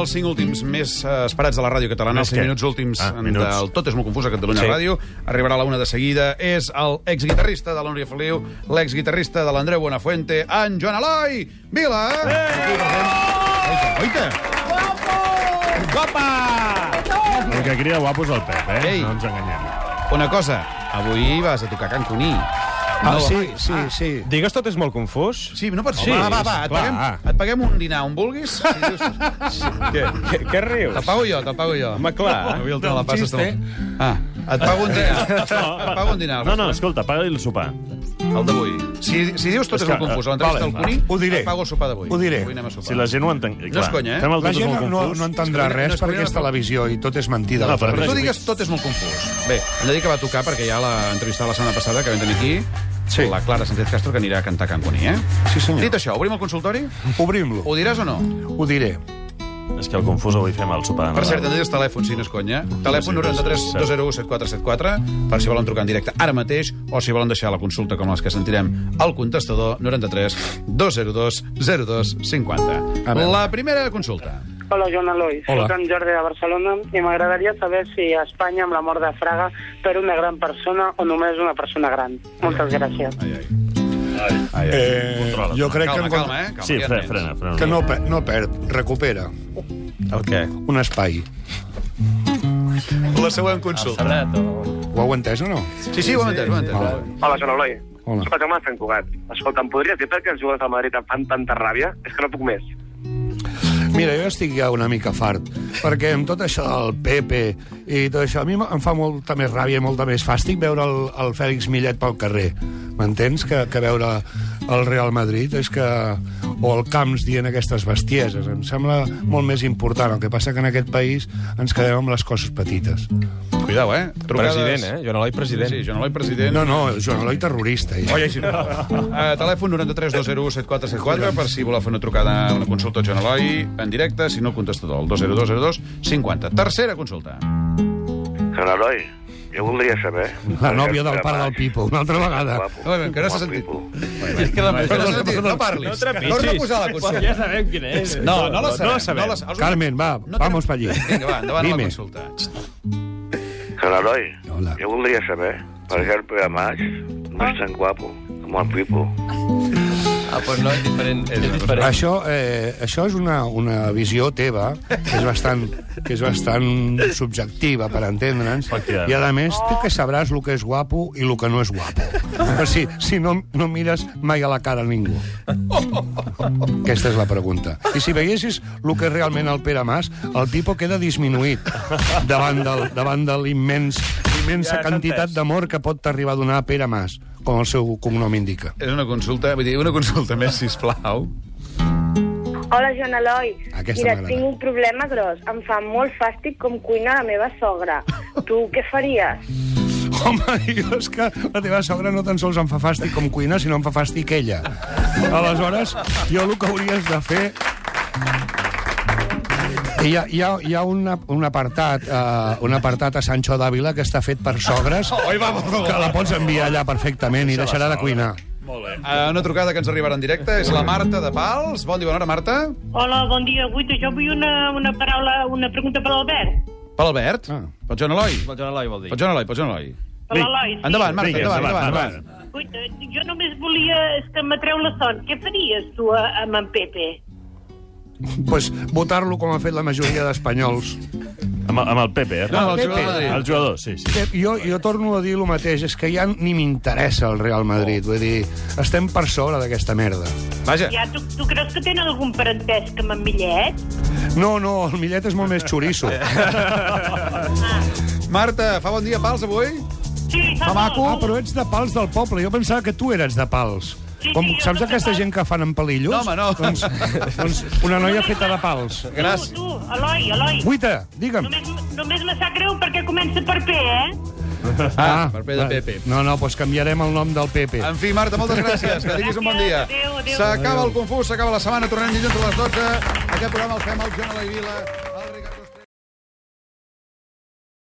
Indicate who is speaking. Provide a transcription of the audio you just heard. Speaker 1: els 5 últims més eh, esperats de la ràdio catalana,
Speaker 2: Més
Speaker 1: els 5
Speaker 2: què?
Speaker 1: minuts últims
Speaker 2: Ah,
Speaker 1: en-
Speaker 2: minuts.
Speaker 1: del Tot és molt confús a Catalunya
Speaker 2: Sí.
Speaker 1: Ràdio. Arribarà a la una de seguida. És el exguitarrista de la Núria Feliu, l'exguitarrista de l'Andreu Buenafuente, en Joan Eloi Vila. Oita, oita.
Speaker 2: El que crida guapo és el Pep, eh?
Speaker 1: Ei.
Speaker 2: No ens enganyem.
Speaker 1: Una cosa, avui vas a tocar Can Cuní.
Speaker 3: Ah,
Speaker 1: No,
Speaker 3: sí,
Speaker 1: ai,
Speaker 3: sí, sí.
Speaker 4: Digues tot és molt confús?
Speaker 1: Sí, no pots...
Speaker 4: Sí,
Speaker 1: va, va, va,
Speaker 4: clar.
Speaker 1: et paguem, et paguem un dinar on vulguis. Si dius-
Speaker 4: Què, què, què rius?
Speaker 1: Te'l pago jo, te'l pago jo.
Speaker 4: Home, clar.
Speaker 1: Avui el te la passes... tu. Ah, et pago un dinar. Et pago un dinar.
Speaker 2: No, no, escolta, paga-li el sopar.
Speaker 1: El d'avui. Si, si dius tot
Speaker 2: És
Speaker 1: és
Speaker 2: que,
Speaker 1: molt confús, a
Speaker 2: eh,
Speaker 1: l'entrevista
Speaker 2: vale,
Speaker 1: al Cuní,
Speaker 3: ho diré.
Speaker 1: et pago el sopar d'avui.
Speaker 3: Ho diré.
Speaker 1: Avui anem a sopar.
Speaker 2: Si la gent ho entén...
Speaker 1: No és conya, eh?
Speaker 2: Fem el
Speaker 3: La
Speaker 2: tot és
Speaker 3: gent
Speaker 2: molt
Speaker 3: no,
Speaker 2: confús.
Speaker 3: no entendrà
Speaker 1: És que no- no
Speaker 3: res
Speaker 1: es
Speaker 3: perquè
Speaker 1: podria
Speaker 3: és televisió i tot és mentida.
Speaker 2: No,
Speaker 3: No,
Speaker 2: però
Speaker 3: però
Speaker 1: Tu
Speaker 2: res.
Speaker 1: digues tot és molt confús. Bé, hem de dir que va tocar, perquè ja l'entrevista de la setmana passada, que vam tenir aquí,
Speaker 3: Sí.
Speaker 1: la Clara Sánchez Castro, que anirà a cantar a Can Cuní, eh?
Speaker 3: Sí, senyor.
Speaker 1: Dit això, obrim el consultori?
Speaker 3: Obrim-lo,
Speaker 1: Ho diràs o no?
Speaker 3: ho diré.
Speaker 2: És que el confús avui fem el sopar. de
Speaker 1: Per cert,
Speaker 2: Nadal.
Speaker 1: tindries telèfon, si no és conya. Telèfon
Speaker 2: sí,
Speaker 1: 93
Speaker 2: sí, sí.
Speaker 1: 201 7474 per si volen trucar en directe ara mateix o si volen deixar la consulta com les que sentirem al contestador 93 202 0250.
Speaker 3: A veure.
Speaker 1: La primera consulta.
Speaker 5: Hola, Joan Eloi.
Speaker 1: Hola.
Speaker 5: Soc en Jordi de Barcelona i m'agradaria saber si a Espanya, amb la mort de Fraga, per una gran persona o només una persona gran. Moltes gràcies.
Speaker 1: Ai, ai.
Speaker 2: Ai, ai.
Speaker 3: Eh,
Speaker 2: Controla't.
Speaker 3: jo crec
Speaker 1: Calma,
Speaker 3: que, en-
Speaker 1: calma, eh? Calma,
Speaker 2: Sí,
Speaker 1: ja
Speaker 2: frena,
Speaker 1: tens.
Speaker 2: frena. frena.
Speaker 3: que no, pe- no perd, recupera
Speaker 4: El què?
Speaker 3: un espai.
Speaker 1: La següent consulta.
Speaker 4: Sabrat o...
Speaker 3: Ho heu entès o no?
Speaker 1: Sí, sí, ho hem entès, ho hem entès.
Speaker 6: Hola, Joan Eloi.
Speaker 3: Hola.
Speaker 6: Soc el Jaume de Sant Cugat. Escolta, em podries dir per què els jugadors del Madrid em fan tanta ràbia? És que no puc més.
Speaker 3: Mira, jo estic ja una mica fart, perquè amb tot això del Pepe i tot això, a mi m- em fa molta més ràbia i molta més fàstic veure el, el Fèlix Millet pel carrer, m'entens? Que, que veure el Real Madrid és que... o el Camps dient aquestes bestieses. Em sembla molt més important. El que passa que en aquest país ens quedem amb les coses petites.
Speaker 1: Cuidao, eh? Trucades-
Speaker 4: President, eh? Joan Eloi, president.
Speaker 1: Sí, Joan Eloi, president.
Speaker 3: No, no, Joan Eloi terrorista. eh? Ja.
Speaker 1: Oi, així no. Uh, telèfon 93 201 7474 per si voleu fer una trucada, una consulta a Joan Eloi en directe, si no el contestador, el 20202 50. Tercera consulta.
Speaker 6: Joan Eloi, jo voldria saber...
Speaker 3: La nòvia del pare del Pipo, una altra vegada.
Speaker 1: A veure, que no s'ha sentit. És que la No parlis.
Speaker 4: No trepitgis.
Speaker 1: Torna a posar la consulta.
Speaker 4: Ja sabem quin és.
Speaker 1: No, no la sabem.
Speaker 4: No la sabem.
Speaker 1: No la sa- els-
Speaker 3: Carmen, va,
Speaker 1: No
Speaker 3: vamos
Speaker 1: tenim-
Speaker 3: pa allí.
Speaker 1: Vinga, va, endavant Dime. la
Speaker 3: Dime.
Speaker 1: consulta.
Speaker 6: Joan Eloi,
Speaker 3: Hola.
Speaker 6: jo voldria saber per què el Pere Mas no és tan guapo com el Pipo.
Speaker 4: Ah, doncs no, és diferent. És diferent.
Speaker 3: Això, eh, això és una, una visió teva, que és bastant, que és bastant subjectiva, per entendre'ns,
Speaker 2: Efectivament.
Speaker 3: i a més tu que sabràs el que és guapo i el que no és guapo. Però si, si no, no mires mai a la cara a ningú. Aquesta és la pregunta. I si veiessis el que és realment el Pere Mas, el Pipo queda disminuït davant, del, davant de l'immens
Speaker 2: Ja
Speaker 3: immensa
Speaker 2: s'ha
Speaker 3: quantitat
Speaker 2: entès.
Speaker 3: d'amor que pot arribar a donar a Pere Mas, com el seu cognom indica.
Speaker 1: És una consulta, vull dir, una consulta més, sisplau.
Speaker 7: Hola, Joan Eloi.
Speaker 3: Aquesta
Speaker 7: Mira,
Speaker 3: m'agrada.
Speaker 7: tinc un problema gros. Em fa molt fàstic com cuina la meva sogra. Tu què faries?
Speaker 3: Home, jo és que la teva sogra no tan sols em fa fàstic com cuina, sinó em fa fàstic ella. Aleshores, jo el que hauries de fer... Hi ha, hi ha, hi ha un, ap- un, apartat, uh, un apartat a Sancho d'Àvila que està fet per sogres
Speaker 1: Oi, va, per favor.
Speaker 3: que la pots enviar allà perfectament i deixarà de cuinar.
Speaker 1: Eh, Una trucada que ens arribarà en directe és la Marta de Pals. Bon dia, bona hora, Marta.
Speaker 8: Hola, bon dia. Guita, jo vull una, una paraula, una pregunta per l'Albert.
Speaker 1: Per l'Albert.
Speaker 3: Ah.
Speaker 1: Per Joan Eloi.
Speaker 4: Joan Eloi vol dir.
Speaker 1: Per Joan Eloi, per Joan Eloi.
Speaker 8: Per l'Eloi. sí.
Speaker 1: Endavant, Marta,
Speaker 2: Vinga,
Speaker 1: endavant,
Speaker 2: endavant,
Speaker 1: endavant.
Speaker 2: endavant.
Speaker 1: endavant.
Speaker 8: Guita, jo només volia... És que m'atreu la son. Què faries tu a- amb en Pepe?
Speaker 3: pues, votar-lo com ha fet la majoria d'espanyols.
Speaker 2: Amb, amb el Pepe, eh?
Speaker 1: No, el
Speaker 3: Pepe.
Speaker 1: jugador de Madrid.
Speaker 2: El jugador, sí, sí.
Speaker 3: Pep, Eh, jo, jo torno a dir el mateix, és que ja ni m'interessa el Real Madrid, vull dir, estem per sobre d'aquesta merda.
Speaker 1: Vaja.
Speaker 8: Ja, tu, tu creus que tenen algun parentesc amb en Millet?
Speaker 3: No, no, el Millet és molt més xoriço.
Speaker 1: Marta, fa bon dia, Pals, avui?
Speaker 8: Sí, fa
Speaker 3: Ah,
Speaker 8: molt.
Speaker 3: però ets de pals del poble. Jo pensava que tu eres de pals.
Speaker 8: Sí,
Speaker 3: Com,
Speaker 8: sí, jo
Speaker 3: saps
Speaker 8: sóc de
Speaker 3: aquesta
Speaker 8: Pals.
Speaker 3: gent que fan empalillos?
Speaker 1: No, home, no.
Speaker 3: Doncs, doncs una noia feta de pals.
Speaker 1: Gràcies.
Speaker 8: Tu, tu, Eloi, Eloi.
Speaker 3: Buita, digue'm.
Speaker 8: Només, només me sap greu perquè comença per P, eh?
Speaker 1: Ah, per P de
Speaker 3: va.
Speaker 1: Pepe.
Speaker 3: No, no, doncs canviarem el nom del Pepe.
Speaker 1: En fi, Marta, moltes gràcies. Que tinguis un bon dia.
Speaker 8: Adéu, adéu.
Speaker 1: S'acaba el confús, s'acaba la setmana. Tornem dilluns a les 12. Aquest programa el fem al Joan Eloi Vila.